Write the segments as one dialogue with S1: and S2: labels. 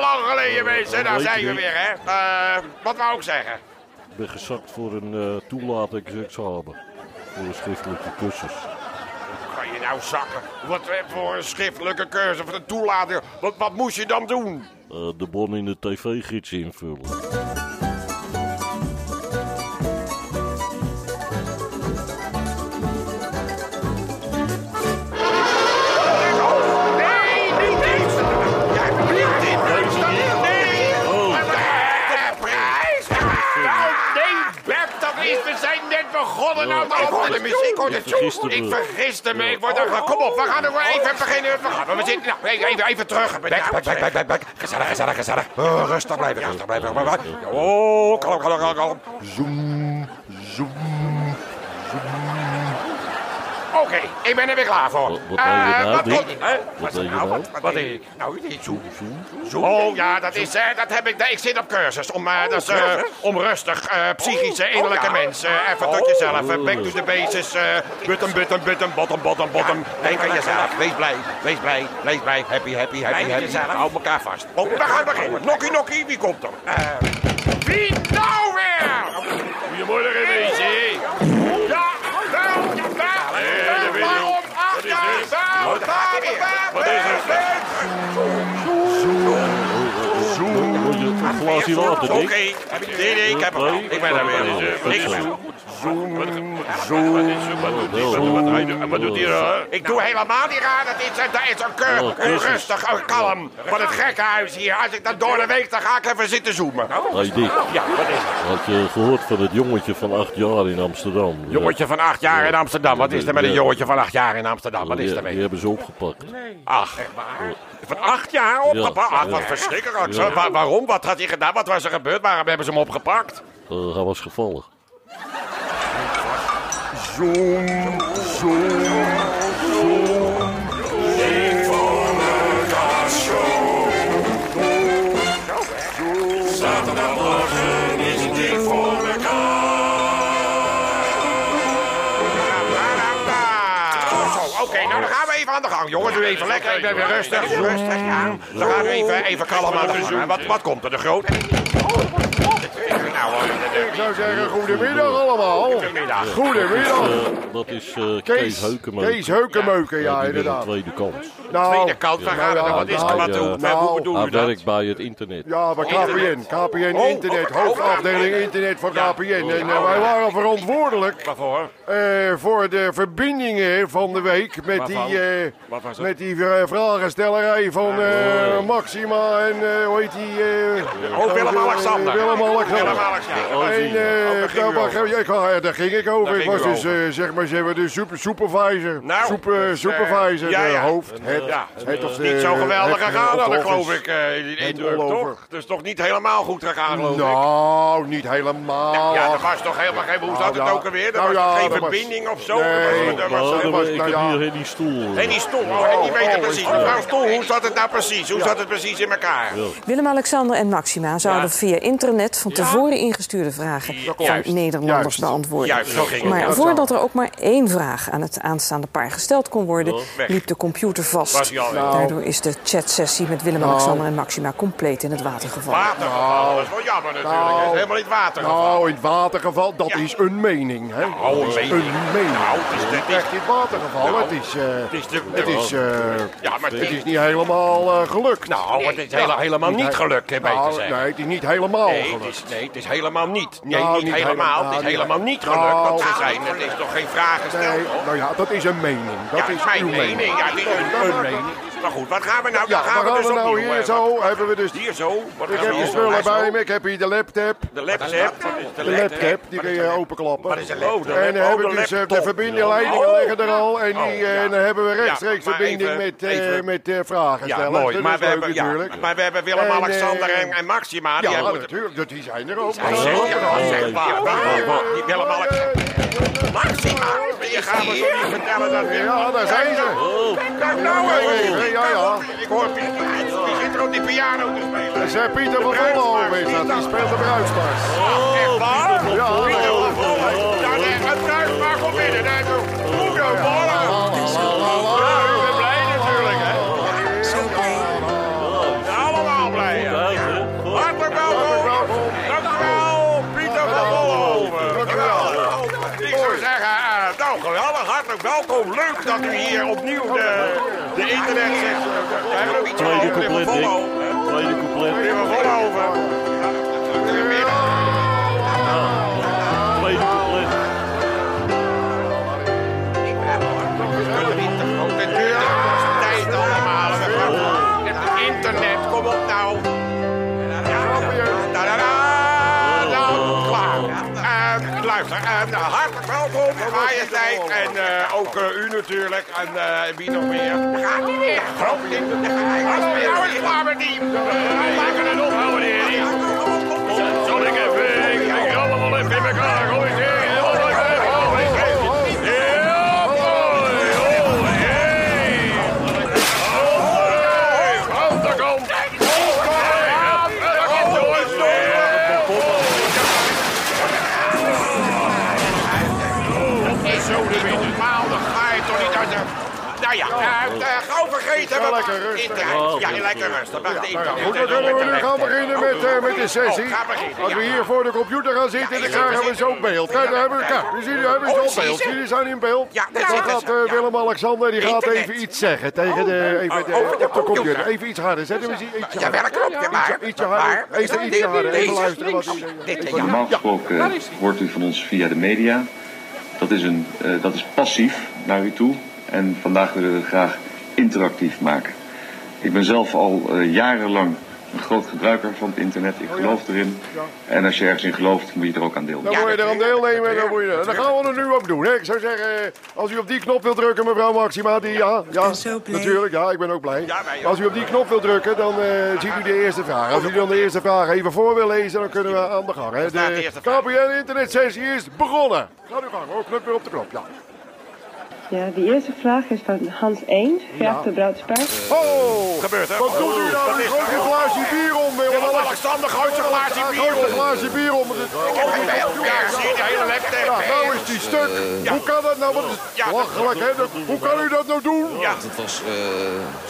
S1: Nou, alleen mensen, daar zijn we weer, hè. Eh, wat wou ik zeggen?
S2: Ik ben gezakt voor een eh, toelatingsexamen. Voor een schriftelijke cursus.
S1: Kan je nou zakken? Wat eh, voor een schriftelijke cursus of een toelating? Wat, wat moest je dan doen?
S2: Eh, de bon in de tv-gids invullen.
S1: Nee, niet dit! Jij niet dit! Nee! prijs! Nou, nee, Bert, dat is, we zijn net begonnen. Nou,
S2: Ik hoor
S1: de muziek, hoor
S2: Ik vergiste me.
S1: Ik vergiste me. Ik word er, kom op, we gaan er weer even beginnen. We gaan, we zitten, nou, even, even, even terug.
S3: Bek, bek, bek, bek, bek, bek. Gezellig, gezellig, gezellig. Oh, rustig blijven, rustig blijven. Maar, maar- Oh, kalm, kalm, kalm, kalm. Zoom, zoom.
S1: Oké, ik ben er weer klaar voor.
S2: Wat- wat
S1: Eh,
S2: ben je nou,
S1: wat
S2: Dick?
S1: kon- hè?
S2: Wat ben je
S1: nou?
S2: nou?
S1: Wat, wat deed ik? Nou, die zoen. Oh ja, dat is, eh, dat heb ik, ik zit op cursus om, eh, dat is, eh, om rustig eh, psychische innerlijke mensen eh, even tot jezelf. eh, back to the basis, eh button, button, button, bottom, bottom, bottom.
S3: Denk aan jezelf. Wees blij, wees blij, wees blij. Happy, happy,
S1: Blij
S3: happy,
S1: met
S3: happy.
S1: jezelf.
S3: Hou elkaar vast.
S1: Oh, we gaan beginnen. Nokkie, nokkie, wie komt er? Eh, wie nou weer? Goedemorgen, Weesje. Ja, wel, wel, waarom achter? Wel, waar,
S3: Wat is er?
S2: Wil je een glaasje water,
S3: Oké,
S2: Dick?
S3: heb ik- nee, nee, ik heb hem al. Ik ben er weer. Ik zoom.
S2: Wat doet hij er?
S1: Ik doe helemaal niet raar. Dat is, dat is eh, een keur.
S2: Oh, cursus.
S1: rustig, oh, kalm. Van het gekkenhuis hier. Als ik dat door de week, dan ga ik even zitten zoomen.
S2: Hey Dick,
S1: Ja, wat is het?
S2: had je gehoord van het jongetje van acht jaar in Amsterdam?
S1: Jongetje van acht jaar in Amsterdam. Wat is er met een jongetje van acht jaar in Amsterdam? Wat is
S2: Die-
S1: er mee?
S2: Die hebben ze opgepakt.
S1: Ach, van acht jaar opgepakt?
S2: Ja,
S1: Ach, wat
S2: ja.
S1: verschrikkelijk.
S2: Ja.
S1: Wa- waarom? Wat had hij gedaan? Wat was er gebeurd? Waarom hebben ze hem opgepakt?
S2: Eh, hij was gevallen.
S1: Zo, Oké, nou dan gaan we even aan de gang, jongens. Doe even lekker, ik ben weer rustig. Rustig, ja. Dan gaan we even, even kalm aan de gang. Wat, wat komt er, de groot? Nou, eh,
S4: Ik zou zeggen, goedemiddag allemaal.
S1: goedemiddag.
S4: Goedemiddag.
S2: Eh, dat is eh, Kees,
S4: Kees-
S2: Heukemeuken.
S4: Kees Heukemeuken, ja,
S2: die wil
S4: inderdaad.
S2: een tweede kans.
S4: Nou,
S1: Tweede kant, waar gaan we dan? Wat is er? Wat doen we? Hoe doen we
S2: Hij
S1: dat?
S2: werkt bij het internet.
S4: ja, bij KPN. KPN
S1: Oh,
S4: Internet,
S1: oh, oh,
S4: hoofdafdeling
S1: oh,
S4: Internet van
S1: ja.
S4: KPN. En eh, wij waren verantwoordelijk
S1: Waarvoor?
S4: eh, voor de verbindingen van de week met die, eh,
S1: Wat was het?
S4: met die eh, vragenstellerij van eh, Maxima en eh, hoe heet die? eh,
S1: Oh, Willem-Alexander.
S4: eh, Willem-Alexander.
S1: Willem-Alexander.
S2: Oh,
S4: En
S2: zie je.
S4: eh,
S1: Oh, daar ging
S4: daar,
S1: u
S4: waar-
S1: over.
S4: ik, ah, daar ging ik over.
S1: Daar
S4: ik
S1: ging
S4: was
S1: u
S4: dus, eh, zeg maar, zeg maar de super, supervisor.
S1: Nou,
S4: Super-
S1: dus, eh,
S4: supervisor,
S1: ja,
S4: eh,
S1: ja.
S4: hoofd. Het,
S1: ja,
S4: het of,
S1: Niet zo
S4: eh,
S1: geweldig
S4: het-
S1: gegaan,
S4: of-
S1: dan
S4: of-
S1: geloof ik, eh, in die
S4: het
S1: indruk,
S4: rollover.
S1: toch? Dus toch niet helemaal goed gegaan, geloof ik?
S4: Nou, niet helemaal.
S1: Ja, dat was toch helemaal geen... Hoe zat
S4: Nou,
S1: het
S4: ja.
S1: ook alweer? Er
S4: Nou,
S1: was
S4: ja,
S1: toch geen
S4: dat was-
S1: verbinding of zo?
S4: Nee,
S1: Er was- er
S2: Maar
S1: was-
S4: hij
S2: dan
S4: was-
S2: ben- Oh, ik
S4: nou
S2: heb
S4: ja.
S2: hier Henny Stoel.
S1: En die stoel, oh, en die weet het precies.
S4: oh, oh.
S1: Mevrouw Stoel, hoe zat het nou precies? Hoe zat het precies in elkaar?
S5: Willem-Alexander en Maxima zouden
S1: Ja.
S5: via internet van tevoren ingestuurde vragen van
S1: Juist.
S5: Nederlanders
S4: Juist.
S5: beantwoorden.
S1: Juist, zo ging het.
S5: maar
S4: Nou.
S1: Dat
S5: voordat er ook maar één vraag aan het aanstaande paar gesteld kon worden,
S1: weg.
S5: liep de computer
S1: Was
S5: vast.
S1: hij al weg.
S5: Daardoor is de chatsessie met Willem-Alexander en Maxima compleet in het water gevallen.
S1: Water gevallen, dat is wel jammer natuurlijk.
S4: Nou.
S1: Het is helemaal niet water gevallen.
S4: Nou, in het watergeval, dat
S1: Ja.
S4: is een mening. Hè?
S1: Nou,
S4: Dat is
S1: een mening.
S4: mening.
S1: Nou, het is-
S4: niet echt in het watergeval.
S1: Nou,
S4: het is, eh,
S1: het is de-
S4: het is, eh,
S1: Ja, maar
S4: het is niet helemaal eh, gelukt.
S1: Nou, het is hele- helemaal niet
S4: he-
S1: gelukt, hè, beter
S4: Nou,
S1: zeggen.
S4: Nee, het is niet helemaal
S1: Nee, het
S4: gelukt.
S1: is, nee, het is helemaal niet. Nee,
S4: Nou,
S1: niet
S4: niet
S1: helemaal.
S4: helemaal,
S1: Het is
S4: nee.
S1: helemaal niet
S4: Nou,
S1: gelukt wat ze
S4: nou,
S1: zijn. Het is toch geen vraag gesteld,
S4: Nee,
S1: hoor?
S4: nou ja, dat is een mening. Dat
S1: Ja,
S4: is
S1: mijn
S4: uw
S1: mening. Ja, dit is
S4: Dat-
S1: een,
S4: dat-
S1: mening. Maar goed, wat gaan we nou?
S4: Ja,
S1: wat gaan
S4: maar
S1: we
S4: gaan
S1: dus
S4: we
S1: opnieuw,
S4: nou
S1: eh,
S4: hier zo, hebben we dus...
S1: Hier zo. Wat
S4: Ik
S1: gaan
S4: heb
S1: we
S4: je
S1: doen?
S4: spullen
S1: Zo.
S4: bij me, ik heb hier de laptop.
S1: De laptop. Wat is de
S4: De
S1: laptop?
S4: laptop, die kun je
S1: Wat
S4: openklappen.
S1: is een laptop?
S4: En dan
S1: Oh,
S4: hebben
S1: de
S4: we dus eh,
S1: laptop.
S4: de verbindingleidingen
S1: Oh.
S4: liggen er al. En, die,
S1: Oh, ja.
S4: eh, en dan hebben we rechtstreeks
S1: Ja, maar
S4: verbinding
S1: even-
S4: met, eh,
S1: even-
S4: met eh, vragen
S1: Ja,
S4: stellen.
S1: mooi.
S4: Dat
S1: Maar
S4: is
S1: we,
S4: leuk
S1: hebben, ja,
S4: natuurlijk.
S1: maar we hebben Willem,
S4: En, eh,
S1: Alexander en, en Maxima. Die
S4: Ja,
S1: hebben
S4: natuurlijk, dat- die zijn er ook.
S1: Zeker,
S4: Ja.
S1: zeg maar. Waar, waar, Die Willem, Alexander. Maxima. Je gaat me toch niet vertellen dat Willem...
S4: Ja, daar zijn ze.
S1: Kijk nou
S4: Ja,
S1: eens.
S4: ja, ja.
S1: Ik hoor Piet. Die zit er op die piano te spelen.
S4: Dat is eh, Pieter van
S1: Bruinsmaak,
S4: Vollenhoven is dat. Die
S1: Pieter.
S4: speelt de bruidspas.
S1: Echt waar?
S4: Ja, ja, ja.
S1: Daar ligt een bruidspaar op binnen. Daar doe
S4: La, la, la, la.
S1: blij natuurlijk, hè? Allemaal blij, ja.
S2: Ja,
S1: eh, nou, hartelijk welkom. Leuk dat u hier opnieuw de, de internet zit. We hebben nog iets
S2: Tweede
S1: over.
S2: couplet,
S1: Meneer Van
S2: Dick.
S1: Vollenhoven.
S2: Tweede couplet.
S1: Meneer Van Vollenhoven.
S2: Tweede couplet.
S1: Tijd allemaal. we gaan- Het internet, kom op nou. Da-da-da, nou, klaar. Eh, Luister, eh, nou, hartelijk welkom, Majesteit. En eh, ook eh, u natuurlijk. En eh, wie nog meer? Daar gaat hij weer. Nou is het klaar met die. Laat me het ophouden, heer. Zal ik even... Ik denk allemaal even in elkaar gooien. Ja, mooi. Oh, hey. Houd de kant! Zo de wind. Normaal, dan ga je toch niet uit de... Nou ja, eh, eh, gauw vergeten. we-
S4: lekker rustig.
S1: Internet. Ja, lekker rustig. Wacht,
S4: Nou ja,
S1: internet.
S4: goed, dan kunnen we nu gaan beginnen met, eh, met de sessie.
S1: Oh, ga beginnen,
S4: Als we
S1: ja.
S4: hier voor de computer gaan zitten, dan krijgen we zo'n beeld. Kijk, daar hebben we, kijk, we zien, daar hebben ze
S1: Oh,
S4: al
S1: zie je
S4: beeld.
S1: ze?
S4: Jullie zijn in beeld.
S1: Ja, daar
S4: Dan
S1: zitten
S4: gaat
S1: ze,
S4: eh,
S1: ja.
S4: Willem-Alexander, die gaat
S1: Internet. Oh,
S4: even iets zeggen tegen de, even de,
S1: over de
S4: op de computer.
S1: computer.
S4: Even iets harder, zetten we eens iets
S1: Ja,
S4: harder.
S1: wel klopt. Ja, maar...
S4: Ietsje harder,
S1: maar-
S4: even ietsje harder, even
S1: Deze.
S4: luisteren wat hij
S1: Dit,
S4: zegt.
S1: ja.
S6: Normaal gesproken eh, hoort u van ons via de media. Dat is, een, eh, dat is passief naar u toe. En vandaag willen we het graag interactief maken. Ik ben zelf al eh, jarenlang een groot gebruiker van het internet. Ik geloof erin. En als je ergens in gelooft, moet je er ook aan deelnemen.
S4: Dan moet je er aan deelnemen en dan moet je... Dan gaan we er nu op doen. Hè. Ik zou zeggen, als u op die knop wilt drukken, mevrouw Maxima, die... Ja, ja,
S7: ben zo blij.
S4: natuurlijk, ja, ik ben ook blij.
S1: Ja, wij ook.
S4: Als u op die knop wilt drukken, dan eh, ziet u de eerste vraag. Als u dan de eerste vraag even voor wil lezen, dan kunnen we aan de gang. Hè.
S1: staat de
S4: De
S1: eerste vraag.
S4: KPN internetsessie is begonnen. Gaat u gang hoor, knuk weer op de knop, ja.
S8: Ja, de eerste vraag is van Hans Eend, verjaagde de bruidspaard.
S4: Oh,
S1: Gebeurt, hè?
S4: wat doet u nou? U gooit een glaasje bier om, eh, Willem-Alexander.
S1: Willem-Alexander gooit zijn glaasje bier
S4: Gooit een
S1: om.
S4: glaasje bier om.
S1: Ja, zie je, de hele laptop.
S4: Ja, nou is die stuk. Hoe kan dat nou? Wat is
S1: Ja.
S4: belachelijk, hè? Dat- Hoe kan u dat nou doen?
S1: Ja.
S9: Het was eh,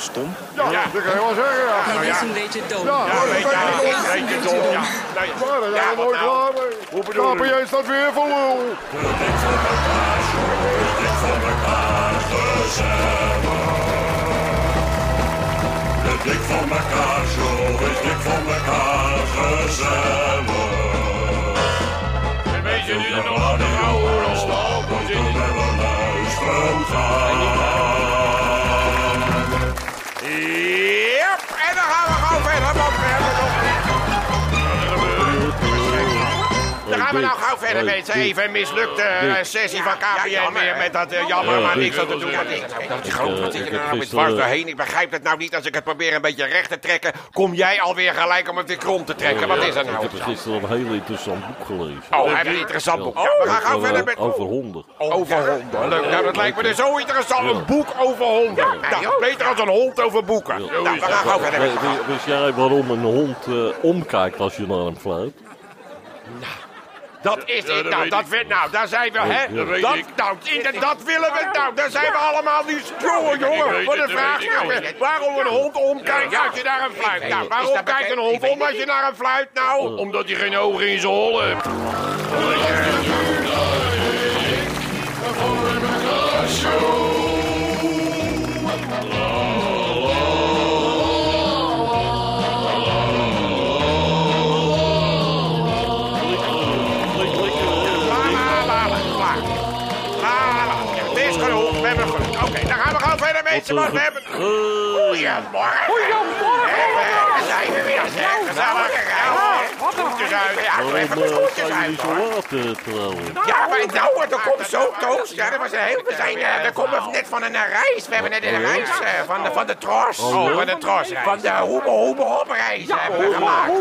S9: stom.
S4: Ja,
S1: Ja.
S4: dat kan je wel zeggen, ja.
S7: Het
S1: ja.
S7: is een beetje dom.
S4: Ja,
S1: Ja,
S4: dat
S1: weet
S4: kan je wel
S1: je,
S4: zeggen.
S1: weet je, dom, ja. Nou ja.
S4: Maar daar zijn we
S1: wat
S4: nooit
S1: nou?
S4: klaar mee. Hoe bedoel je? jij staat weer voor lul.
S10: Dik van elkaar, zo is dik van elkaar gezellig.
S1: En weet je nu dat nog aan de vrouwen ontstaat?
S10: Want toen hebben we luisteren gaan.
S1: Yep, en dan gaan we gewoon verder, want we hebben nog Dan gaan we nou gauw verder, mensen. Even een mislukte eh, sessie van KPN weer met dat eh, jammer, maar niks aan te doen. Dat is groot, wat zit je nou met dwars doorheen? Ik begrijp het nou niet. Als ik het probeer een beetje recht te trekken, kom jij alweer gelijk om het weer krom te trekken. Wat is dat
S2: Ik
S1: nou?
S2: heb gisteren een heel interessant boek gelezen.
S1: Oh, we hebben een interessant boek. Ja, we gaan gauw verder met...
S2: Over honden.
S1: Oh. Over honden. Leuk. Nou, dat lijkt me dus zo interessant. Een boek over honden. Nou, beter als een hond over boeken. Nou, we gaan gauw verder met...
S2: Weet- weet- Wist jij waarom een hond eh, omkijkt als je naar hem fluit?
S1: Dat is het. Nou, dat werd, nou, daar zijn we, hè?
S2: dat weet
S1: dat,
S2: ik.
S1: nou, in- dat willen we, nou, daar zijn we allemaal nu. Jongen, jongen, wat een vraag. Nou, hè, waarom een hond omkijkt als je naar een fluit? Nou, waarom kijkt een hond om als je naar een fluit? Nou, omdat hij geen ogen in zijn hol heeft. Klaar, klaar, klaar, klaar. Klaar, klaar. Ja, Het is genoeg, we hebben genoeg. Oké, dan gaan we gewoon verder, mensen, want we hebben... Oh, Goedemorgen. Goedemorgen. We zijn er weer, zeg. Gezellig. Groetjes uit. Ja, even de
S2: Waarom eh,
S1: groetjes
S2: zijn jullie
S1: uit,
S2: zo
S1: hoor.
S2: laat eh, trouwen?
S1: Ja, maar nou, er komt zo toast. Ja, dat was een heel, we, zijn, eh, we komen net van een eh, reis. We hebben net een reis eh, van, de, van de tros.
S2: Oh,
S1: van de tros. Van de hoebe hoebe hop reis hebben we gemaakt.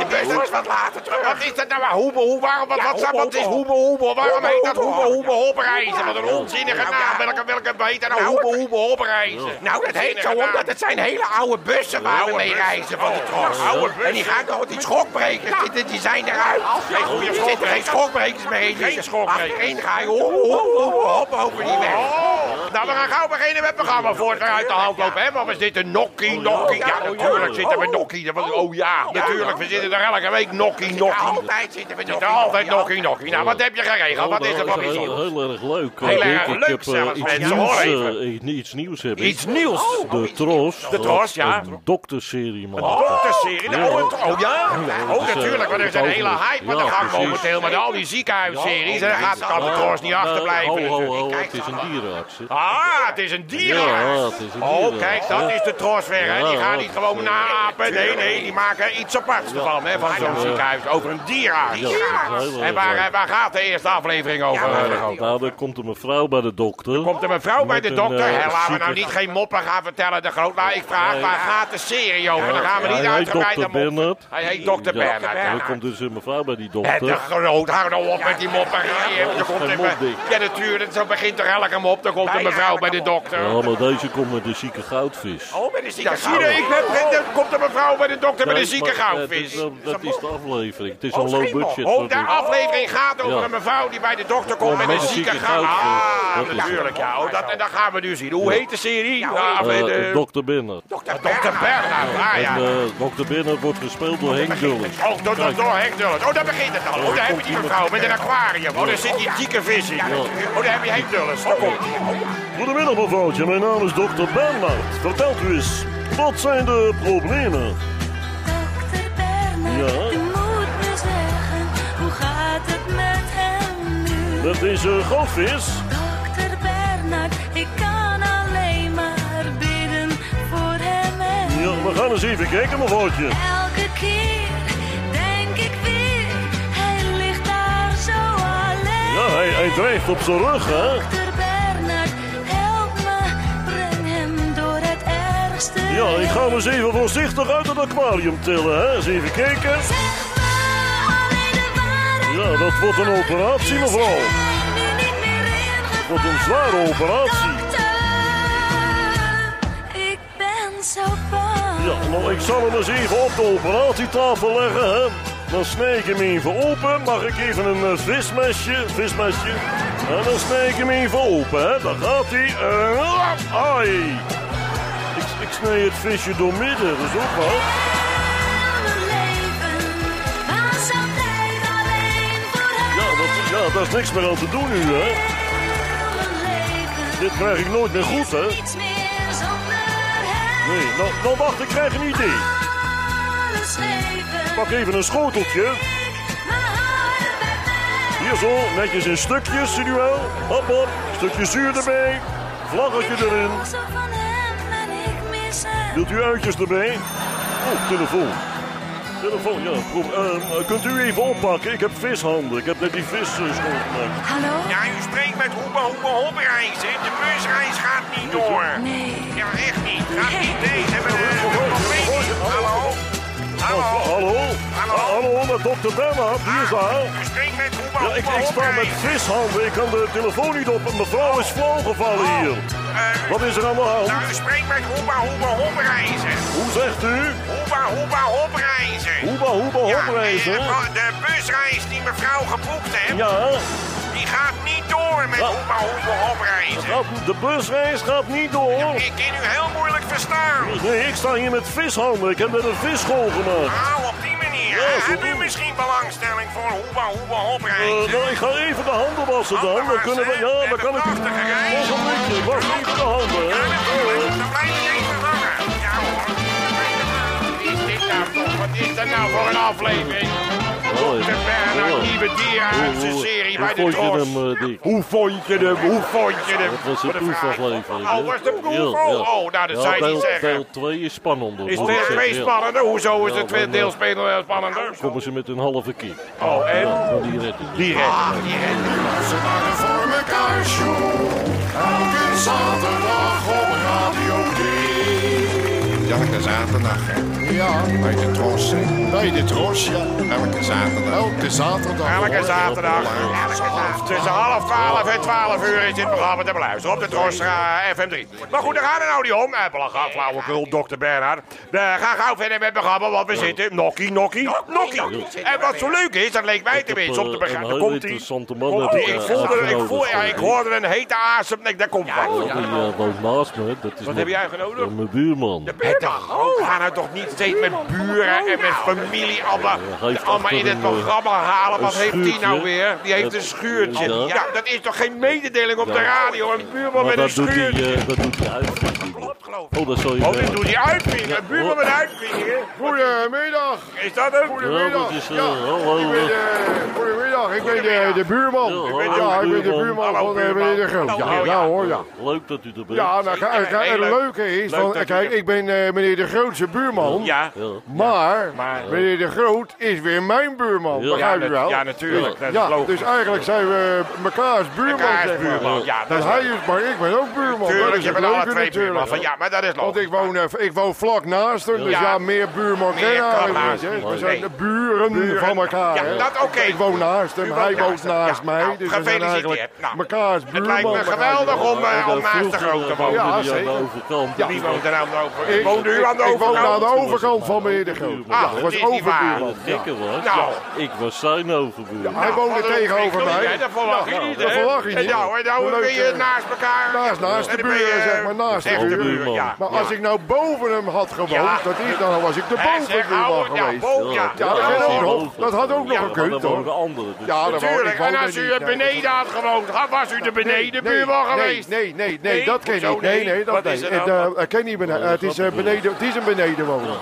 S1: De bus was wat later terug. Wat is dat nou? Hoebe hoebe? Waarom? Wat, wat, wat is hoebe hoebe? Waarom heet dat hoebe hoebe hop reizen? Wat een onzinnige naam. Welke, welke heet dat nou? Hoebe hoebe hop reizen. Nou, dat heet zo omdat het zijn hele oude bussen Oh, waar we mee reizen van de tros. En die gaan toch die schokbrekers, die- die, die zijn eruit. Geen goede dus oh, schokbrekers. Geen schokbrekers meer. Geen schokbrekers. Geen ga je hop hop hop hop over die weg. Oh, Nou, we gaan gauw beginnen met het programma. Voordat we uit de hand lopen, hè? Wat is dit? Een nokkie, nokkie? Oh, Ja, natuurlijk zitten we nokkie. Want- Oh ja, natuurlijk. We zitten er elke week nokkie, nokkie. Altijd zitten we nokkie. Altijd nokkie, nokkie. Nou, wat heb je
S2: Oh,
S1: geregeld? Wat is er van
S2: heel,
S1: bijzonder?
S2: Nou, heel erg leuk.
S1: Heel
S2: eh,
S1: erg
S2: Dick.
S1: leuk
S2: ik heb, eh,
S1: zelfs,
S2: iets,
S1: mensen.
S2: nieuws,
S1: Hoor
S2: eh,
S1: even.
S2: ik- nee, iets nieuws heb ik.
S1: Iets nieuws.
S2: De Tros.
S1: De Tros, ja.
S2: Een dokterserie, man.
S1: Dokterserie?
S2: Ja.
S1: Oh, het- oh ja? Oh,
S2: dus, eh,
S1: natuurlijk, want er is een
S2: het
S1: hele
S2: overzicht.
S1: hype aan de
S2: Ja,
S1: gang
S2: precies.
S1: momenteel met al die ziekenhuisseries. En daar gaat
S2: Ja,
S1: de Tros niet
S2: nee,
S1: achterblijven.
S2: Ho, ho, ho,
S1: Kijk,
S2: het is een dierenarts. hè.
S1: Ah, het is een dierenarts.
S2: Ja, het is een
S1: Oh,
S2: dierenarts.
S1: kijk, dat is de tros weer. Hè. Die
S2: Ja,
S1: gaan
S2: dat
S1: niet
S2: is,
S1: gewoon
S2: eh,
S1: naapen. Nee, nee, die maken iets aparts ervan, hè, van zo'n
S2: eh,
S1: ziekenhuis. Over een dierenarts.
S2: Ja, dat is heel erg
S1: En waar,
S2: leuk.
S1: eh, waar gaat de eerste aflevering over? eh, Ronald?
S2: Nou, dan komt een mevrouw bij de dokter.
S1: Komt er een vrouw bij
S2: Met
S1: de
S2: een,
S1: dokter?
S2: eh,
S1: Hé, laten we
S2: zieke-
S1: nou niet geen moppen gaan vertellen. De groot. Nou, ik vraag, waar gaat de serie over? Dan gaan we niet
S2: Hij heet
S1: uitgebreid
S2: dokter
S1: de mop.
S2: Bernard.
S1: Hij heet dokter
S2: Ja,
S1: Bernard.
S2: En
S1: ja.
S2: dan komt dus een mevrouw bij die
S1: Het de
S2: dokter.
S1: groot, hou nou op met die moppen. Je
S2: is
S1: komt
S2: geen
S1: even-
S2: mop, Dick.
S1: Ja, natuurlijk, zo begint er elke mop. Dan komt een mevrouw bij de dokter.
S2: Ja, maar deze komt met de zieke goudvis.
S1: Oh, met de zieke ja, zie je, ik ben, er komt een mevrouw bij de dokter met een zieke
S2: Nee, maar, eh,
S1: goudvis.
S2: dat is- Dat is de aflevering. Het is
S1: Oh,
S2: een low
S1: schema.
S2: budget.
S1: Oh, de
S2: natuurlijk.
S1: aflevering gaat over
S2: Ja. Oh,
S1: een mevrouw die bij de dokter komt met een zieke goudvis.
S2: goudvis.
S1: Ah,
S2: Dat is het.
S1: natuurlijk, ja. Oh, dat, en dat gaan we nu zien. Hoe heet de serie? Ja,
S2: Eh,
S1: de,
S2: eh, Dr. Binnen.
S1: dokter Bernhard. Ah, ja.
S2: En eh, Dr. Binnen wordt gespeeld door Henk Dulles.
S1: Oh, door, door, door Henk Dulles. Oh, daar begint het al. Oh, daar heb je die mevrouw met een aquarium. Oh, daar zit die dikke vis in. Oh, daar heb je Henk Dulles. Daar komt hij.
S2: Goedemiddag mevrouwtje, mijn naam is dokter Bernhard. Vertelt u eens, wat zijn de problemen?
S7: Dokter Bernard,
S2: Ja?
S7: u moet me zeggen, hoe gaat het met hem nu?
S2: Met deze goudvis?
S7: Dokter Bernard, ik kan alleen maar bidden voor hem en u.
S2: Ja, we gaan eens even kijken mevrouwtje.
S7: Elke keer denk ik weer, hij ligt daar zo alleen.
S2: Ja, hij, hij drijft op zijn rug hè.
S7: Dokter Bernard, help me, breng hem door het ergste
S2: Ja, ik ga
S7: heen.
S2: hem eens even voorzichtig uit het aquarium tillen hè. Eens even kijken.
S7: Zeg me alleen de waarheid.
S2: Ja, dat wordt een operatie mevrouw. Wat een zware operatie.
S7: Dokter, ik ben zo bang.
S2: Ja, nou ik zal hem eens even op de operatietafel leggen hè. Dan snij ik hem even open. Mag ik even een eh, vismesje? Vismesje. En dan snij ik hem even open hè. Dan gaat hij. ai! Ik, ik snij het visje doormidden, dat is ook wel.
S7: Mijn leven was altijd alleen voor hem.
S2: Ja, dat, ja, daar is niks meer aan te doen nu hè.
S7: Mijn leven
S2: Dit krijg ik nooit meer goed hè.
S7: is niets meer zonder hem.
S2: Nee, nou, nou wacht, ik krijg een idee.
S7: Alles leven,
S2: Pak even een schoteltje.
S7: mijn hart bij mij.
S2: Hier zo, netjes in stukjes, zie u wel. Hop, hop, stukje zuur erbij.
S7: Ik
S2: Vlaggetje erin.
S7: hou zo van hem en ik mis hem.
S2: Wilt u uitjes erbij? Oh, telefoon. Telefoon, ja. Proef, ehm, kunt u even oppakken? Ik heb vishanden. Ik heb net die vis eh, schoongemaakt.
S7: Hallo?
S1: Ja, u spreekt met Hoebe Hoebe Hopperijs, hè. De busreis gaat niet door.
S7: Nee.
S1: Ja, echt niet. Gaat niet deze. hebben eh, een probleem. Hallo?
S2: Oh,
S1: Hallo?
S2: hallo? Ah, hallo, met dokter Bernhard. Hier is hij.
S1: U spreekt met Hoebe
S2: Ja, ik,
S1: Hoebe
S2: ik sta met
S1: Hopperijs.
S2: vishanden. Ik kan de telefoon niet op. Mevrouw is flauwgevallen hier.
S1: Eh,
S2: Wat is er aan de hand?
S1: Nou, u spreekt met Hoebe Hoebe Hopperijs.
S2: Hoe zegt u?
S1: Hoebe Hoebe Hopperijs.
S2: Hoeba, hoeba,
S1: Ja,
S2: hopreizen.
S1: eh, de- de busreis die mevrouw geboekt heeft,
S2: Ja,
S1: die gaat niet door met
S2: Ja.
S1: Hoebe Hoebe Hopperijs.
S2: dat- Nou, de busreis gaat niet door.
S1: Ik kan u heel moeilijk verstaan.
S2: Nee, ik sta hier met vishanden. Ik heb net een vis schoongemaakt.
S1: Ah, op die manier.
S2: Ja, zo
S1: Heb u
S2: doen we.
S1: misschien belangstelling voor Hoeba Hoeba
S2: Eh,
S1: Hopperijs?
S2: nou, ik ga even de handen wassen dan. Dan
S1: Handen
S2: kunnen we...
S1: wassen,
S2: Ja,
S1: hè?
S2: dan kan ik...
S1: Met een prachtige reis.
S2: Ogenblikje, was even de handen,
S1: Ja,
S2: hè.
S1: natuurlijk. Dan blijf ik even hangen. Ja hoor. Wat is dit nou toch? Wat is dat nou voor een aflevering?
S2: Oh,
S1: De Bernhard Nieuwe Dierhuizen serie bij de
S2: Hoe vond je
S1: Tros.
S2: hem, eh, Dick?
S1: Hoe vond je hem? Hoe vond je hem?
S2: Dat was een
S1: Wat een vraag.
S2: proefaflevering. hè?
S1: Oh, was de proef?
S2: Ja, ja.
S1: Oh, oh, nou, dat
S2: Ja,
S1: zou je
S2: deel-
S1: niet zeggen.
S2: Deel 2 is spannender.
S1: Is
S2: moet ik
S1: deel 2
S2: zeggen, ja.
S1: spannender? Hoezo is
S2: Ja,
S1: de tweede
S2: dan,
S1: deel
S2: eh,
S1: spannender? spannender?
S2: Komen ze met een halve kip.
S1: Oh, en?
S2: Ja, maar die redden.
S1: Die redt.
S4: Ze waren voor elkaar show. Elke zaterdag op Radio D.
S3: Elke zaterdag, hè.
S11: Ja. Bij de Tros. hè?
S4: Bij de Tros, ja.
S11: Elke zaterdag.
S4: Elke zaterdag.
S1: Elke zaterdag. Elke zaterdag. Tussen half twaalf en twaalf uur is dit programma te beluisteren op de Trostra FM3. Maar goed, daar gaat het nou niet om. Eh, Belachelijk flauwekul, dokter Bernhard. We gaan gauw verder met het programma, want we zitten nokkie, nokkie, nokkie. En wat zo leuk is, dat leek mij tenminste om te begrijpen. Daar komt hij.
S2: eh, interessante man.
S1: Oh,
S2: heb
S1: ik,
S2: eh,
S1: voelde, ik,
S2: uitgenodigd
S1: voel, ja,
S2: voor
S1: ik
S2: mij.
S1: hoorde een hete asem. Ik, daar komt hij.
S2: Die eh, woont naast me. Dat
S1: Wat
S2: is mijn-
S1: heb jij genodigd?
S2: Mijn buurman.
S1: Het we gaan nou toch niet steeds met buren en met familie allemaal,
S2: hij heeft
S1: allemaal
S2: achter
S1: in het
S2: een, eh,
S1: programma halen. Wat
S2: een
S1: heeft die nou
S2: schuurtje.
S1: weer? Die heeft
S2: Dat-
S1: een schuurtje.
S2: ja.
S1: Ja, dat is toch geen mededeling op
S2: Ja.
S1: de radio? Een buurman
S2: Maar
S1: met een
S2: dat doet
S1: schuurtje.
S2: hij, eh, dat doet hij uit. Oh, dat zal je
S1: Oh,
S2: wel.
S1: dit doet hij uitvliegen. Een buurman met uitvliegen.
S4: Goedemiddag.
S1: Is dat hem?
S2: Ja, dat is... eh, hallo.
S4: Ik ben, eh, goedemiddag, ik ben de, de buurman.
S2: hallo,
S4: Ja, ik ben de
S2: buurman.
S4: buurman
S1: Hallo,
S4: van eh, meneer De Groot.
S1: buurman.
S4: Ja,
S1: Oh, ja.
S4: ja hoor, ja.
S2: Leuk dat u er bent.
S4: Ja, nou,
S1: Zeker,
S4: ga- ga-
S1: heel
S4: het
S1: leuk.
S4: leuke is,
S1: Leuk
S4: van,
S1: dat u
S4: kijk,
S1: er-
S4: ik ben eh, meneer De Groot zijn buurman.
S1: Ja.
S2: Ja.
S4: Maar,
S1: Maar-
S4: meneer De Groot is weer mijn buurman,
S2: Ja.
S4: begrijp
S1: Ja,
S4: je
S1: dat-
S4: wel?
S1: ja, natuurlijk. Dat is
S4: ja,
S1: logisch.
S4: dus eigenlijk zijn we mekaars buurman,
S1: Elkaar is
S4: zeg maar.
S1: buurman. Ja, dat
S4: Want
S1: is
S4: hij
S1: leuk.
S4: is, maar ik ben ook buurman. dat
S1: Tuurlijk,
S4: is
S1: je
S4: het
S1: bent alle
S4: leuke
S1: twee buurman.
S4: natuurlijk.
S1: Van, ja, maar dat is
S4: Want
S1: logisch.
S4: ik woon, eh, ik woon vlak naast hem, dus
S1: Ja.
S4: ja, meer buurman
S1: Meer
S4: ken je
S1: kan
S4: eigenlijk
S1: naast
S4: niet, hè.
S1: hem.
S4: We zijn
S1: Nee.
S4: de buren,
S1: Buren.
S4: van elkaar.
S1: Ja,
S4: hè.
S1: dat oké.
S4: Ik woon naast
S1: U
S4: hem,
S1: woont
S4: hij
S1: naast
S4: woont
S1: hem.
S4: naast
S1: Ja,
S4: mij.
S1: nou,
S4: Dus we zijn
S1: gefeliciteerd.
S4: eigenlijk
S1: Nou,
S4: mekaars buurman.
S1: Het lijkt me
S4: begrijp je
S1: geweldig
S4: wel.
S1: om, eh, om naast te groot te wonen.
S4: Ja,
S2: Ja, zeker.
S4: zeker.
S2: Aan de overkant.
S1: Wie
S2: Die
S1: woont er nou aan de overkant?
S4: Ik,
S1: Woont u
S4: ik-
S1: aan de
S4: ik woon aan de
S1: overkant?
S4: overkant van meneer De Groot.
S2: overbuurman.
S4: Ja,
S1: Ah,
S4: ik
S1: dat
S4: was
S1: is niet waar.
S4: overbuurman.
S2: Wat gekker was.
S1: Nou.
S2: Ik was zijn overbuurman.
S4: Hij woonde
S1: Wat een
S4: tegenover
S1: ontwikkeling, hè?
S4: mij.
S1: Dat verwacht je
S4: Ja,
S1: niet, hè?
S4: dat verwacht je
S1: En
S4: niet.
S1: nou, en nou
S4: Leuk,
S1: ben je
S4: eh,
S1: naast elkaar.
S4: naast- naast
S1: En
S4: de
S1: dan ben je,
S4: buren,
S1: eh,
S4: zeg maar, naast de
S1: echt
S4: buren.
S1: Ja.
S4: Maar als ik nou boven hem had gewoond,
S1: Ja.
S4: dat is, dan was ik de
S1: Hij zegt,
S4: bovenbuurman
S1: ouwe, ja,
S4: geweest.
S1: nou boven, ja.
S4: Ja, dat
S1: Ja,
S4: kan ook
S1: boven.
S4: nog. Dat had ook nog
S1: Ja,
S2: Maar
S4: gekund,
S2: dan wonen
S4: hoor.
S2: anderen. Dus
S4: Ja, dat wou- ik
S1: Tuurlijk,
S4: wou
S1: en
S4: dat
S1: als u
S4: niet. Nee,
S1: beneden had gewoond, had- was u de benedenbuurman
S4: nee,
S1: geweest.
S4: Nee, nee, nee,
S1: Nee,
S4: nee, dat ken
S1: hoezo
S4: niet. Nee,
S1: nee?
S4: nee,
S1: Wat
S4: dat
S1: is
S4: niet.
S1: er
S4: Het,
S1: nou?
S4: eh, ik ken niet beneden. het, is, eh, beneden het is een benedenwoning.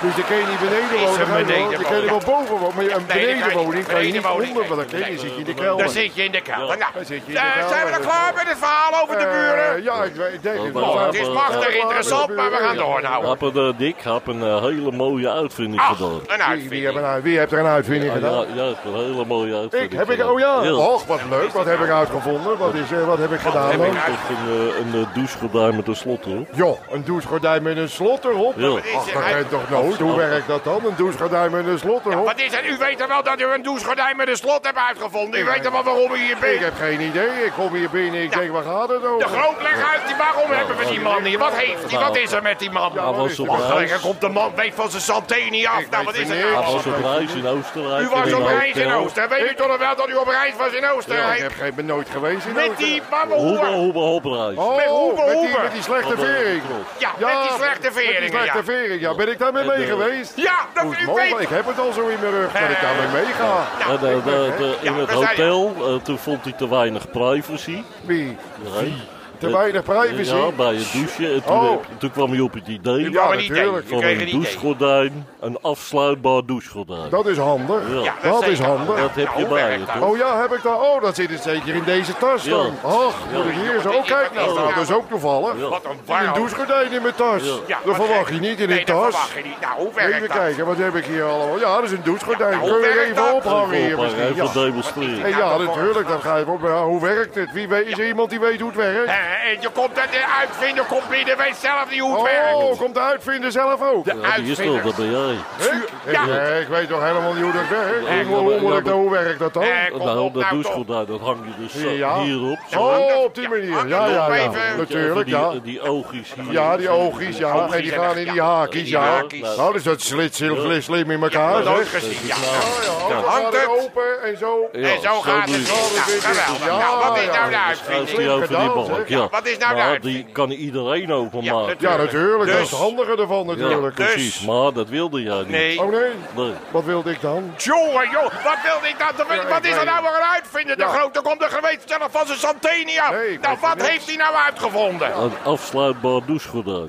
S4: Dus je kan niet beneden
S1: Is
S4: wonen.
S1: een
S4: ga je wel- Je
S1: benedenwoning.
S4: kan er wel boven wonen, maar je- een
S1: Nee, dat kan je niet.
S4: benedenwoning kan je niet
S1: Benedenwoning,
S4: onder, want dan
S1: nee.
S4: kan je- dan zit je in de
S1: Dan
S4: kelder.
S1: zit je in de kelder. Nou,
S4: dan zit je in de
S1: eh,
S4: kelder.
S1: zijn we dan klaar met het verhaal over de
S4: Eh,
S1: buren?
S4: Ja, ik weet- ik denk het
S2: Nou,
S4: wel.
S1: Het is machtig
S4: Eh,
S1: interessant, maar we gaan
S4: ja.
S1: door
S2: Ik
S1: nou.
S2: heb een eh, dik, heb een eh, hele mooie uitvinding
S1: Ach,
S2: gedaan. Ah,
S1: een
S4: Wie, wie,
S1: uitvinding.
S4: hebben nou- wie heeft er een uitvinding
S2: Ja,
S4: gedaan?
S2: ja, ja, ik heb een hele mooie uitvinding
S4: Ik heb ik,
S2: gedaan.
S4: oh ja,
S2: Heel.
S4: och wat leuk, wat heb ik uitgevonden? Wat, is, eh, wat heb ik gedaan
S1: heb ik
S4: dan?
S2: Ik heb een, eh, een eh, douchegordijn met een slot erop.
S4: Joh, een douchegordijn met een slot erop.
S2: Ja.
S4: Ach, dat kan je toch nooit? Hoe werkt dat dan? Een douchegordijn met een slot erop?
S1: Wat is het? U weet er wel dat u een douchegordijn met een slot hebt uitgevonden. U weet er wel waarom u hier
S4: Ik
S1: bent.
S4: heb geen idee. Ik kom hier binnen. Ik
S1: Ja.
S4: denk, waar gaat het over?
S1: De groot, leg uit. Die, waarom hebben we die man hier? Wat heeft hij? Wat is er met die man?
S2: Hij was op
S1: Ach, lekker
S2: reis.
S1: komt de man weet van zijn santé niet af. Nou, wat is het nou?
S4: niks.
S2: Hij
S1: allemaal?
S2: was op reis in Oostenrijk.
S1: U was
S2: een
S1: op reis in
S2: hotel.
S1: Oosten. Weet u toch nog wel dat u op reis was in Oosten?
S4: Ja, ik
S1: Hij-
S4: heb geen, ben nooit geweest in
S1: Met
S4: Oostenrijk.
S1: die mama
S2: Hoebe, hoebe, hoepreis.
S4: Oh,
S1: met Hoebe,
S4: met die,
S1: Hoebe.
S4: met die slechte vering.
S1: Ja, met die slechte
S4: Met die
S1: veringen.
S4: slechte
S1: ja.
S4: vering, ja. Ben ik daarmee mee
S2: eh,
S4: geweest?
S1: Ja, dat
S4: Hoe is
S1: u
S4: mogelijk?
S1: weet.
S4: Ik heb het al zo in mijn rug dat ik
S1: Eh,
S4: daarmee meega.
S2: En, eh, de- de- in
S1: Ja,
S2: het
S1: we zijn-
S2: hotel, eh, toen vond hij te weinig privacy.
S4: Wie?
S2: Nee.
S4: Te
S2: Eh,
S4: weinig privacy?
S2: Ja, bij het douchen. En toen,
S4: Oh.
S2: heb- toen kwam hij op het idee
S1: kwam er
S4: Ja,
S1: niet
S4: natuurlijk.
S1: tegen. U
S2: van
S1: kreeg er
S2: een
S1: niet tegen.
S2: douchegordijn, een afsluitbaar douchegordijn.
S4: Dat is handig.
S2: Ja.
S1: Ja,
S4: Dat is
S1: zeker.
S4: handig.
S2: Dat heb
S1: Nou,
S2: je
S1: hoe
S2: bij
S1: werkt
S2: je,
S1: dat?
S2: toch?
S4: Oh ja, heb ik daar. Oh, dat zit het zeker in deze tas dan.
S2: Ja.
S4: Ach, moet ik hier zo. Oh, kijk nou,
S1: Ja.
S4: dat is ook toevallig.
S1: Wat een
S4: Zit een
S1: warm.
S4: douchegordijn in mijn tas.
S1: Ja,
S4: Dat
S1: wat
S4: verwacht
S1: gek.
S4: je niet in
S1: Nee,
S4: een
S1: Dat
S4: tas.
S1: verwacht je niet. Nou, hoe
S4: Even
S1: werkt dat?
S4: kijken, wat heb ik hier allemaal? Ja, dat is een douchegordijn.
S1: Ja, nou, hoe
S4: Kun je
S1: werkt dat?
S4: even ophangen hier
S2: Even
S4: misschien? Ja.
S2: demonstreren.
S4: En ja, natuurlijk, dat ga je op. Maar hoe werkt het? Wie weet, is er iemand die weet hoe het werkt?
S1: Eh, eh, je komt uit de uitvinder, komt binnen, weet zelf niet hoe het werkt.
S4: Oh, komt de uitvinder zelf ook?
S2: Ja, die is toch, dat ben jij.
S4: Ik,
S1: Ja.
S4: eh, ik weet toch helemaal niet hoe dat werkt?
S2: Ja,
S4: Ik wil
S2: maar- ja,
S4: onmiddellijk
S2: maar-
S4: hoe werkt dat dan?
S1: Eh, kom
S2: Nou,
S1: op
S2: dat
S1: nou toch.
S2: douchegordijn, dat hang je dus zo
S4: Ja.
S2: hierop. zo.
S4: Oh, op die
S1: Ja,
S4: manier. Ja, ja, ja.
S1: even-
S2: Even
S4: Natuurlijk,
S2: die,
S4: ja.
S2: eh, die oogjes hier.
S4: Ja, die oogjes, ja. En die gaan in die haakjes,
S1: Ja,
S4: ja.
S1: haakjes.
S4: Nou, dus dat slit slim, slim in elkaar,
S1: Nooit
S4: zeg.
S1: gezien, ja.
S4: Ja, ja,
S1: Dan
S4: ogen
S1: hangt
S4: gaan er
S1: het.
S4: open en zo.
S2: Ja,
S1: En zo gaat
S2: doe je
S1: het. Nou, geweldig. Nou, wat is nou de uitvinding?
S2: die over die
S4: Gedaan,
S2: balk,
S4: zeg.
S2: ja.
S1: Wat is nou de
S2: Maar
S1: uitvinding?
S2: die kan iedereen
S1: Ja,
S2: openmaken.
S1: natuurlijk.
S4: Ja, natuurlijk. Dat is
S1: Dus-
S4: het handige ervan natuurlijk.
S1: dus-
S2: Precies, maar dat wilde jij niet.
S1: Nee.
S4: Oh nee,
S2: Nee.
S4: wat wilde ik dan?
S1: Jongen, joh, wat wilde ik dat?
S4: ik
S1: Wat is er
S4: weet
S1: nou
S4: het.
S1: weer uitvinden? De
S4: Ja.
S1: grote komt er geweest zelf van zijn Santenia.
S4: Nee, ik
S1: nou,
S4: weet
S1: wat
S4: het
S1: heeft hij nou uitgevonden?
S2: Een afsluitbaar douchegordijn.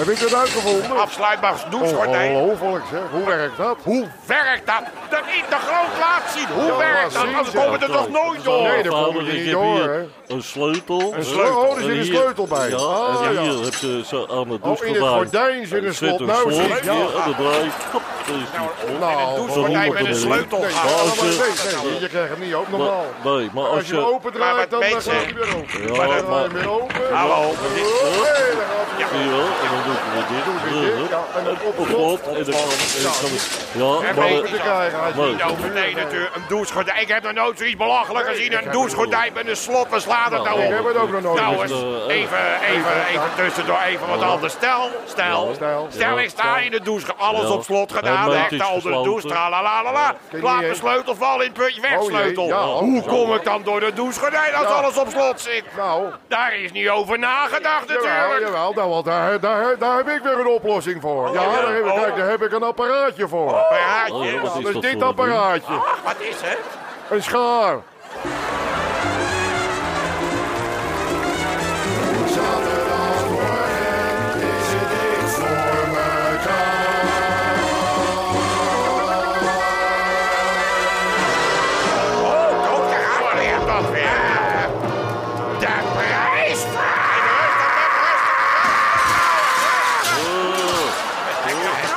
S4: Heb ik dat uitgevonden?
S1: Afsluitbaar Ah, douchegordijn.
S4: Ongelooflijk zeg, hoe werkt dat?
S1: Hoe werkt dat? Dat is de groot laat zien. Hoe
S4: Ja,
S1: werkt
S4: laat
S1: dat?
S4: zien,
S1: Anders
S4: ja,
S1: komen we er
S2: Kijk,
S1: toch nooit
S2: het is allemaal
S1: door.
S4: Nee, daar komen
S2: eenvoudig.
S4: we niet
S2: Ik heb
S4: door,
S2: hier
S4: hè.
S2: Een sleutel. Een
S4: sleutel. Oh, er zit een sleutel bij.
S2: Ja,
S4: Ah,
S2: en
S4: ja.
S2: hier heb je zo aan het
S4: Oh, in het
S2: douchegordijn.
S4: gordijn zit een slot. Nou, zie
S2: slotje
S4: je. Ja.
S2: en dan draai je. Hop, daar is die.
S1: Een
S4: Nou,
S1: douchegordijn met een
S2: honderd
S1: sleutel.
S4: Nee,
S1: aan.
S2: maar als
S4: allemaal-
S2: je-
S4: nee, nee, je krijgt hem niet open, normaal.
S2: Maar- Nee, maar
S4: Als je hem
S1: Maar wat
S4: opendraait, dan dan
S1: mensen-
S4: gaat hij weer open.
S2: Ja,
S4: Dan draai je
S2: maar-
S4: hem weer open. Oh,
S1: Hallo.
S4: Hé, daar gaat hij weer
S2: Zie je wel, en dan doe ik hem dit.
S4: dit, ja, en dan op-
S2: Op slot. En dan kan- en dan kan- Ja,
S1: En
S2: maar...
S1: weet je
S2: maar-
S1: zo, nou, nee, natuurlijk, een douchegordijn. Ik heb nog nooit zoiets belachelijk gezien. Een douchegordijn met een slot, we slaan het nou
S2: eh,
S4: ik
S1: op.
S4: heb het ook nog nooit
S1: Nou, eens,
S4: gezien.
S1: even, even, even tussendoor, even wat anders. Stel, stel, stel, ik sta in de douche, alles
S2: Ja.
S1: op slot gedaan,
S2: Hij meent
S1: hekten
S2: iets
S1: onder de douche,
S2: gesloten.
S1: tralalalala.
S4: Ken je
S1: Laat
S4: niet,
S1: mijn
S4: hè?
S1: sleutel vallen in het putje
S4: Oh, jee.
S1: wegsleutel.
S4: Ja,
S1: Hoe
S4: zo.
S1: kom ik dan door de douchegordijn als
S4: Ja.
S1: alles op slot zit?
S4: Nou,
S1: Daar is niet over nagedacht
S4: jawel,
S1: natuurlijk.
S4: jawel nou, want daar, daar, daar heb ik weer een oplossing voor. Ja, daar heb, ik- kijk, daar heb ik een apparaatje voor.
S2: Oh, ja,
S1: Apparaatje.
S2: Oh, wat is dat voor
S4: Dus dit
S2: een ding?
S4: apparaatje.
S1: Ach, wat is het?
S4: Een schaar.
S1: Oh, ook daar gaan we weer dat weer. De prijsvraag.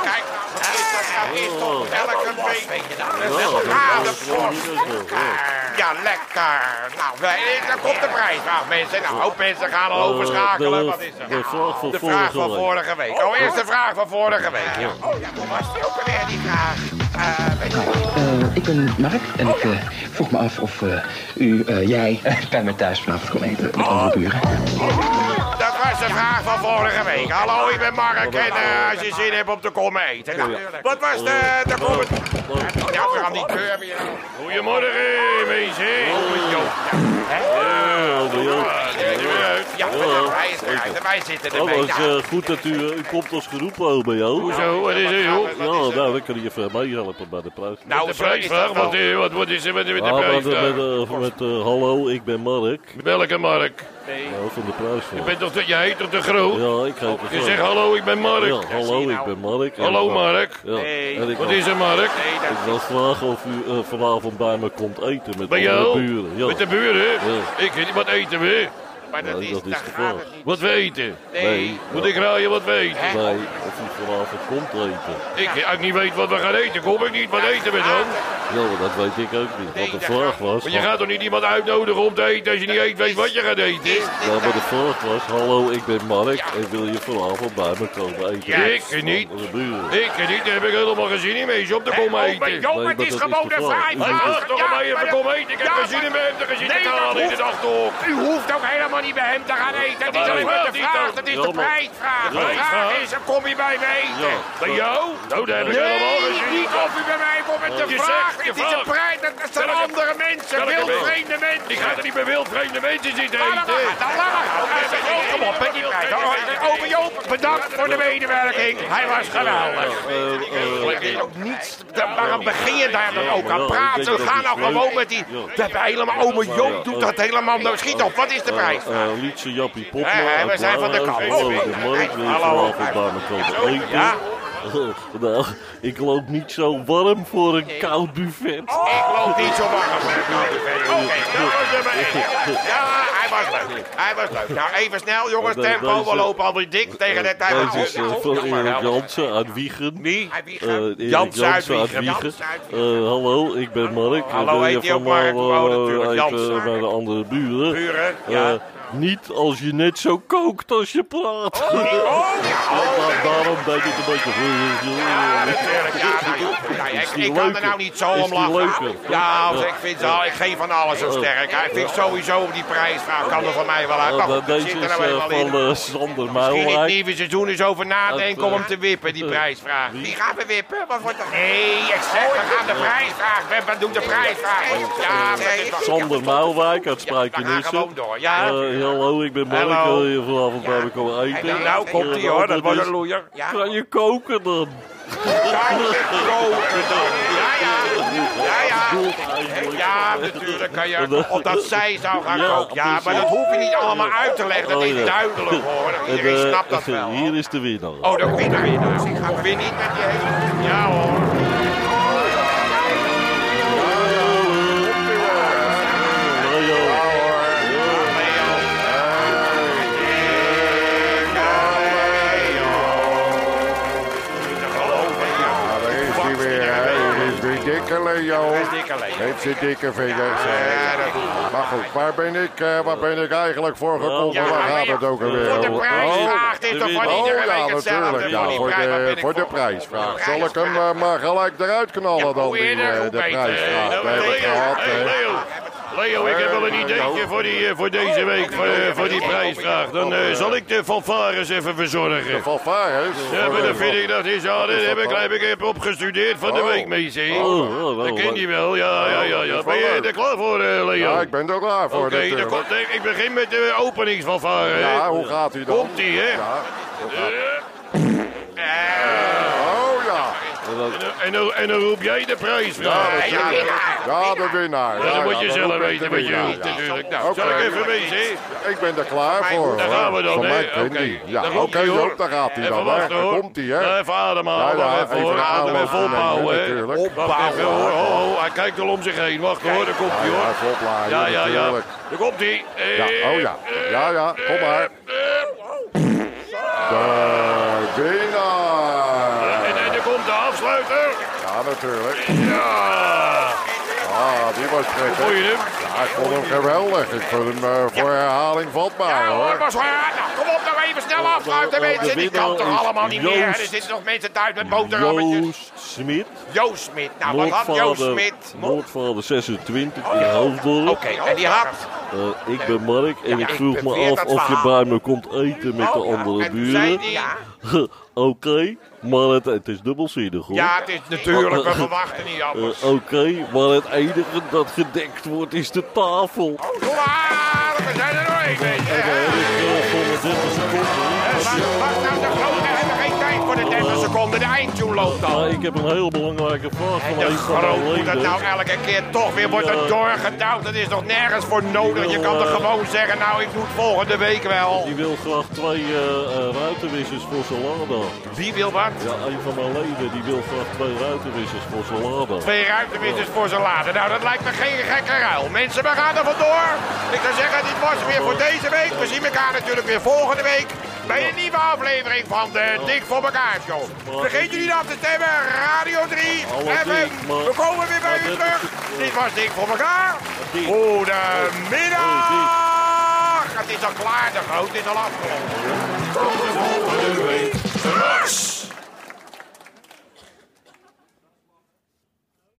S1: Kijk, dat is toch elke week. Weet je
S2: eh,
S1: dat? Ja, de Ja, lekker. Nou, wij- daar komt de prijsvraag, mensen. Nou, ook mensen gaan al
S2: Eh,
S1: overschakelen.
S2: de-
S1: Wat is er?
S2: de vraag van
S1: de vraag van
S2: vorige
S1: vorige week. Oh, eerst de vraag van vorige week. Ja. Oh, ja, hoe was die ook weer, die vraag? Eh, weet je wel.
S12: Eh, ik ben Mark en ik eh, vroeg me af of eh, u, eh, jij, bij mij thuis vanavond kon eten met andere buren.
S1: Dat was de vraag van vorige week. Hallo, ik ben Mark en eh, als je zin hebt om te komen eten. Nou, wat was de, de comment? Ja, we gaan niet deur meer. Goedemorgen, mensen.
S2: Ja, dat wil je.
S1: Ja, hij is eruit. Wij zitten
S2: Oh,
S1: ermee.
S2: het is eh, goed dat u, eh, u komt als geroepen, oma Jo.
S1: Hoezo? Wat is eh, er, joh?
S2: Ja, nou, dan kan je even meehelpen bij de prijs.
S1: Nou, de prijsvraag, wat, eh, wat, wat is er met, met de
S2: Ja, maar
S1: prijs?
S2: met, eh, met, eh, hallo, ik ben Mark.
S1: Welke Mark?
S2: Nou, van de prijsvraag.
S1: Je bent toch te, je heet toch te groot? Oh,
S2: Ja, ik heet
S1: Je zegt hallo, ik ben Mark. nou.
S2: Ja, hallo, ik ben Mark. En
S1: Hallo,
S2: ik-
S1: Mark.
S2: Ja,
S1: Nee.
S2: en ik
S1: Wat
S2: wil-
S1: is er, Mark? Nee, dat-
S2: Ik wil vragen of u eh, vanavond bij me komt eten met
S1: Bij
S2: de
S1: jou?
S2: buren. Ja.
S1: Met de buren?
S2: Ja.
S1: Ik weet niet, wat eten we? Maar dat
S2: Nee,
S1: is,
S2: dat is
S1: daar
S2: de
S1: gaat
S2: vraag.
S1: het niet. Wat we eten?
S2: Nee.
S1: Moet
S2: Ja.
S1: ik raaien wat we eten?
S2: Nee, of u vanavond komt eten.
S1: Ik, als ik niet weet wat we gaan eten, kom ik niet. Wat eten we dan?
S2: Ja, maar dat weet ik ook niet. Wat de vraag was...
S1: Maar je gaat toch niet iemand uitnodigen om te eten als je niet eet, weet wat je gaat eten?
S2: Ja, maar de vraag was, hallo, ik ben Mark en wil je vanavond bij me komen eten?
S1: Ja, ik niet.
S2: Van de buren.
S1: Ik niet, daar heb ik helemaal geen zin in mee, om te komen
S2: oh,
S1: eten.
S2: maar joh, Nee, het maar is dat is gewoon de een vraag. vraag.
S1: Hij mag
S2: Ja,
S1: toch
S2: maar
S1: bij even
S2: dat-
S1: komen eten. Ik heb
S2: Ja,
S1: geen zin
S2: maar-
S1: in mijn hem te gaan zitten
S2: Nee, dat
S1: halen in de
S2: hoeft-
S1: achterhoek.
S3: U hoeft ook helemaal niet bij hem te gaan eten. Het is
S1: Nee,
S3: alleen
S1: wel
S3: maar de
S1: niet,
S3: vraag.
S1: hoor.
S3: Dat is
S1: Ja,
S3: de
S1: maar-
S3: prijsvraag.
S1: De
S3: De vraag
S1: prijsvraag?
S3: is, kom je bij me eten?
S1: Bij jou? Nou, daar heb ik helemaal geen zin
S3: Nee, niet of u bij mij komt met de
S1: Je
S3: vraag.
S1: zegt, je
S3: Het is een
S1: vraagt.
S3: prijs. Dat dat zijn
S1: Welke-
S3: andere mensen.
S1: welke
S3: Wildvreemde mensen.
S1: Ik ga er niet bij wildvreemde mensen zitten
S3: Maar dan
S1: eten.
S3: lacht, dan lacht. Kom op, met die prijs. Over Joop, bedankt voor de medewerking. Hij was geweldig.
S1: Eh, eh,
S3: Niets, da- waarom begin je daar dan ook aan praten? We gaan nou gewoon met die... Dat helemaal ome Joop doet dat helemaal... Nou, schiet op, wat is de prijs?
S2: Eh, eh, Lietse Jappie Popma.
S3: Hé, hé, we
S2: uit
S3: zijn van de
S2: Blauwhuis.
S3: kant.
S2: Hallo, de markt wil je
S3: Hallo.
S2: vanavond bij me komen eten.
S3: Ja.
S2: nou, ik loop niet zo warm voor een koud buffet.
S1: Ik loop niet zo warm. Oké, dat was nummer één. Ja, hij was leuk. Hij was leuk. Nou, even snel, jongens,
S2: Deze-
S1: tempo. We lopen alweer dik tegen de tijd. Oh,
S2: Deze is eh, van Erik Jansen uit Wiegen. Eh,
S1: Wie? Uit Wiegen? Jans uit
S2: Erik Jansen uit
S1: Wiegen.
S2: Wiegen.
S1: Jans
S2: Eh, hallo, ik ben Mark.
S1: Hallo,
S2: Wil je
S1: heet die ook
S2: vanavond,
S1: Mark? Oh, natuurlijk,
S2: eh,
S1: Jans.
S2: even bij de andere buren.
S1: Buren, ja.
S2: Eh, niet als je net zo kookt als je praat. Oh, daarom deed ik een beetje...
S1: Ja, natuurlijk. Ja, nou, joh. Nou, ik, ik kan er nou niet zo
S2: Is
S1: om
S2: die
S1: lachen.
S2: leuker? Oh.
S1: Ja, als ik vind al, ik geef van alles zo sterk. Hij vindt sowieso die prijsvraag, kan er van mij wel uit. Maar
S2: Eh,
S1: goed, ik
S2: deze is
S1: zit er nou
S2: eh,
S1: eenmaal in.
S2: van eh, Sander
S1: Misschien het
S2: Muilwijk.
S1: nieuwe seizoen is over nadenken
S2: Dat,
S1: om
S2: eh,
S1: hem te wippen, die prijsvraag.
S3: Die
S1: Die
S3: gaan we wippen. Wat wordt dat?
S1: Nee, ik zeg, we gaan de prijsvraag. We, we doen de prijsvraag. Ja, maar dit was-
S2: Sander Muilwijk uit
S1: we gaan
S2: Spijkenisse.
S1: gewoon door, ja.
S2: Eh, hallo, ik ben Mark.
S1: Hallo.
S2: Wil je vanavond bij me komen eten?
S1: Nou, komt
S2: Eh,
S1: ie hoor, dat was
S2: antwoord is,
S1: een loeier. Ja.
S2: Kan je koken dan?
S1: Kan je koken dan? Ja, ja. Ja, ja. Ja, natuurlijk kan je. Of dat zij zou gaan
S2: Ja,
S1: koken. Ja, maar dat
S2: precies.
S1: hoef je niet allemaal uit te leggen. Dat
S2: Oh,
S1: is
S2: ja.
S1: duidelijk hoor.
S2: En,
S1: Iedereen
S2: eh,
S1: snapt dat wel.
S2: Hier is de winnaar.
S1: Oh, dan win je weer. Nou, ik ga weer niet met die hele... Ja hoor.
S2: Oh,
S4: Daar is hij weer, hè. Hier is die dikke Leo. Heeft zijn dikke vingers. hè. Maar goed, waar ben ik, eh, waar ben ik eigenlijk voor gekomen?
S1: Ja,
S4: Waar
S1: maar
S4: gaat
S1: ja,
S4: het ook
S1: Voor
S4: alweer? Oh,
S1: de prijsvraag, dit is toch van iedere week hetzelfde.
S4: Ja,
S1: die
S4: voor
S1: prijs, waar
S4: de,
S1: ben ik
S4: voor de prijsvraag. Zal ik hem eh, maar gelijk eruit knallen dan, die, eh, de prijsvraag? We hebben het gehad, eh. nou. hè.
S7: Leo, ik heb wel een ideetje voor, die, eh, voor deze week, voor, eh, voor die prijsvraag. Dan eh, zal ik de fanfares even verzorgen.
S4: De fanfares?
S7: Ja, maar dat vind ik, dat is, ja, dat heb ik, heb ik heb opgestudeerd van
S4: Oh.
S7: de week mee, zie.
S2: Oh,
S7: Dat ken je wel, ja, ja, ja. ja. Ben je er klaar voor, eh, Leo?
S4: Ja, ik ben er klaar voor
S7: Oké, dan
S4: natuurlijk.
S7: komt, eh, ik begin met de openingsfanfare. hè.
S4: Ja, hoe gaat u dan?
S7: Komt-ie, hè?
S4: Ja.
S7: Oh ja. En, dan- en dan roep jij de prijsvraag.
S4: Ja, natuurlijk. Ja, de winnaar.
S7: Ja, dat moet je
S4: dan
S7: zelf
S4: roep ik
S7: weten
S4: de
S7: wat je
S4: winnaar,
S7: roept
S4: ja.
S7: natuurlijk. Nou, zal
S4: Oké.
S7: ik even wezen?
S4: Ik ben er klaar voor.
S7: Daar
S4: hoor.
S7: gaan we dan,
S4: Van
S7: hè?
S4: mij kent
S7: Oké.
S4: die. Ja,
S7: Daar
S4: oké,
S7: komt die, hoor.
S4: Joop, daar gaat hij
S7: Even
S4: dan.
S7: wachten,
S4: Daar
S7: hoor. Nou,
S4: komt hij, hè?
S7: Even ademhalen, wacht even, hoor. Adem even opbouwen, hè. Wacht even, hoor. Ho, ho, hij kijkt al om zich heen. Wacht, hoor, daar komt hij,
S4: Ja,
S7: hoor.
S4: even oplaaien,
S7: Ja, ja, ja.
S4: natuurlijk.
S7: Daar komt hij.
S4: Ja, oh ja. Ja, ja, kom maar. De winnaar.
S7: En, en er komt de afsluiter.
S4: Ja, natuurlijk.
S7: Ja.
S4: Ah, die was prettig.
S7: Vond je hem?
S4: Ja, ik vond hem geweldig. Ik vond hem eh, voor herhaling vatbaar,
S1: hoor,
S4: hoor. Oh,
S1: maar zo, ja, nou, kom op, nou even snel afsluiten,
S4: de- de
S1: mensen. Dit kan
S4: winnaar
S1: toch
S4: nou, is
S1: allemaal niet meer. Er
S4: Joost.
S1: zitten nog mensen thuis met boterhammetjes.
S2: Joost Smit.
S1: Joost Smit. Nou, wat had Joost Smit? Oh,
S2: Noordvader 26 in Hoofddorp.
S1: Oké, en die had...
S2: Eh, ik ben Mark en
S1: Ja,
S2: ik
S1: ik
S2: vroeg
S1: beweer
S2: me af
S1: dat
S2: of je
S1: verhaal. Oh,
S2: bij me komt eten met de andere
S1: En toen zei
S2: buren.
S1: die- Ja.
S2: Oké, maar het, het is dubbelzinnig hoor.
S1: Ja, het is natuurlijk, we
S2: Eh,
S1: verwachten niet anders.
S2: eh, Oké, maar het enige dat gedekt wordt is de
S1: We
S2: tafel.
S1: zijn er doorheen, weet je. Wacht nou, de grote hebben geen tijd voor de 30 seconden. De eindtune loopt al.
S2: Maar Eh. ik heb een heel belangrijke vraag
S1: En
S2: van een
S1: de
S2: van de
S1: groot moet het
S2: leden.
S1: nou elke keer toch weer wordt
S2: Ja.
S1: het doorgedouwd. Dat is nog nergens voor nodig. Je kan toch gewoon zeggen, nou, ik doe het volgende week wel.
S2: Die wil graag twee eh, eh, ruitenwissers voor salade.
S1: Wie wil wat?
S2: Ja, een van mijn leden die wil graag twee ruitenwissers voor salade.
S1: Twee ruimtewissers voor zijn laden. Nou, dat lijkt me geen gekke ruil. Mensen, we gaan er vandoor. Ik zou zeggen, dit was weer voor deze week. We zien elkaar natuurlijk weer volgende week bij een nieuwe aflevering van de Dik voor elkaar show. Vergeet jullie niet af te stemmen. Radio 3 FM. We komen weer bij u terug. Dit was Dik voor elkaar. Goedemiddag. Het is al klaar, de groot is al afgelopen. Tot de volgende